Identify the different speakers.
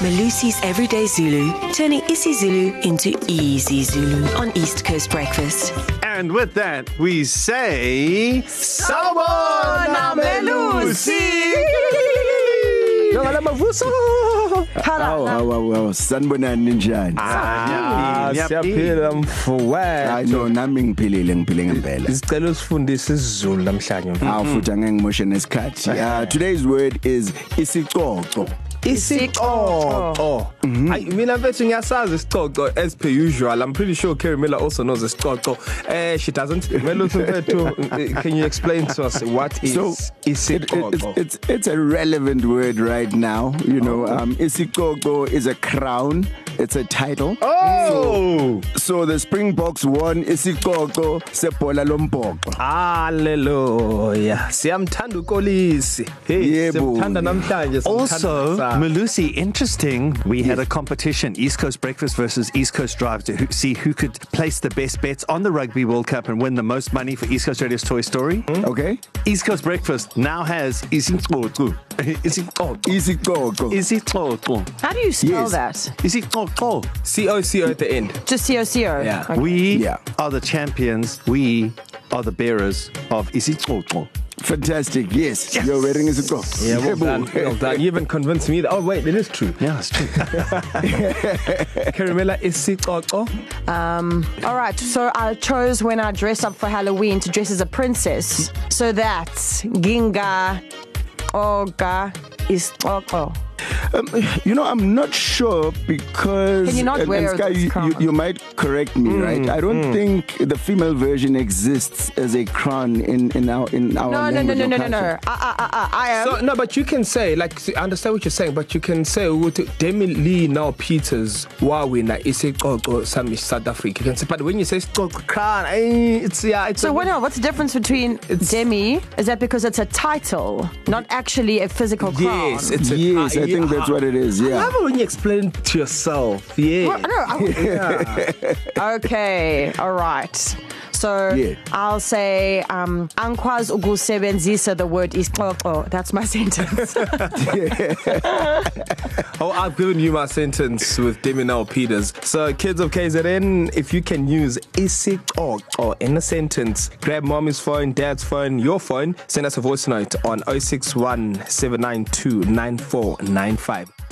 Speaker 1: Malusi's Everyday Zulu, turning isiZulu into easy Zulu on East Coast Breakfast.
Speaker 2: And with that, we say. Sawubona Melusi!
Speaker 3: Hawa hawa hawa sanibonani njani?
Speaker 2: Ah, siyaphila.
Speaker 4: siyaphila
Speaker 3: Hayi
Speaker 4: mfowethu
Speaker 3: no nami ngiphilile ngiphile ngempela.
Speaker 4: isicelo usifundise isizulu namhlanje
Speaker 3: Awu futhi angeke ngimoshe nesikhathi. Ah, Today's word is isicoco.
Speaker 4: isicoco
Speaker 3: Mhm.
Speaker 4: hayi mina mfethu ngiyasazi isicoco as per usual i'm pretty sure Kerry Miller also knows isicoco eh she doesn't Melusi mfethu eh, can you explain to us what is
Speaker 3: So, It, it,
Speaker 4: isicoco
Speaker 3: it's, it's it's a relevant word right now. You know, um, isicoco is a crown. It's a title.
Speaker 2: Oh!
Speaker 3: So the Springboks won isicoco sebhola lombhoxo.
Speaker 4: haleluya siyamthanda ukolisi hey
Speaker 3: Yebo.
Speaker 4: siyamthanda namhlanje
Speaker 5: Also,
Speaker 4: siyamthanda kusasa.
Speaker 5: Malusi, interesting. We had a competition, East Coast Breakfast versus East Coast Drive, to who, see who could place the best bets on the Rugby World Cup and win the most money for East Coast Radio's Toy Story.
Speaker 2: Hmm?
Speaker 3: Okay?
Speaker 5: East Coast Breakfast now has isicoco, isicoco,
Speaker 3: Isicoco.
Speaker 5: isicoco,
Speaker 6: How do you spell
Speaker 3: Yes.
Speaker 6: that?
Speaker 5: isicoco.
Speaker 4: COCO at the end
Speaker 6: Just C O C O.
Speaker 4: Yeah.
Speaker 5: We
Speaker 3: Yeah.
Speaker 5: are the champions. We are the bearers of isicoco.
Speaker 3: Fantastic. Yes. yes. You're wearing isicoco.
Speaker 4: Yeah, well done, well done. You even convinced me that. Oh wait, it is true.
Speaker 5: Yeah, it's true.
Speaker 4: Caramella is sicoco.
Speaker 6: All right. So I chose when I dress up for Halloween to dress as a princess. So that's Ginga Oga is Oko.
Speaker 3: You know, I'm not sure because
Speaker 6: Can you not wear
Speaker 3: Sky,
Speaker 6: this
Speaker 3: you,
Speaker 6: crown?
Speaker 3: you, you might correct me, mm, right? I don't mm. think the female version exists as a crown in, in our in our
Speaker 6: No, no, no,
Speaker 3: language
Speaker 6: no,
Speaker 3: or
Speaker 6: no, no, no.
Speaker 3: culture.
Speaker 6: I, I, I, I am.
Speaker 4: So no, but you can say like I understand what you're saying, but you can say ukuthi Demi Lee now Peters wawina isicoco some South Africa. You can say, but when you say sicoco crown, eh, it's yeah, it's.
Speaker 6: So
Speaker 4: a-
Speaker 6: what, what's the difference between
Speaker 4: It's-
Speaker 6: demi? Is that because it's a title, not actually a physical crown?
Speaker 4: Yes, it's a,
Speaker 3: Yes, I think that's what it is.
Speaker 4: I
Speaker 3: Yeah.
Speaker 4: love it when you explain it to yourself. Yeah.
Speaker 6: Well, no, I- okay, all right. So
Speaker 3: Yeah.
Speaker 6: I'll say um Ankwaz Ugusebenzisa the word is oh, that's my sentence.
Speaker 4: Oh, I've given you my sentence with Deminal Peters. So, kids of KZN, if you can use isicoco in a sentence, grab mommy's phone, dad's phone, your oh phone, send us a voice note on 061 792 9495.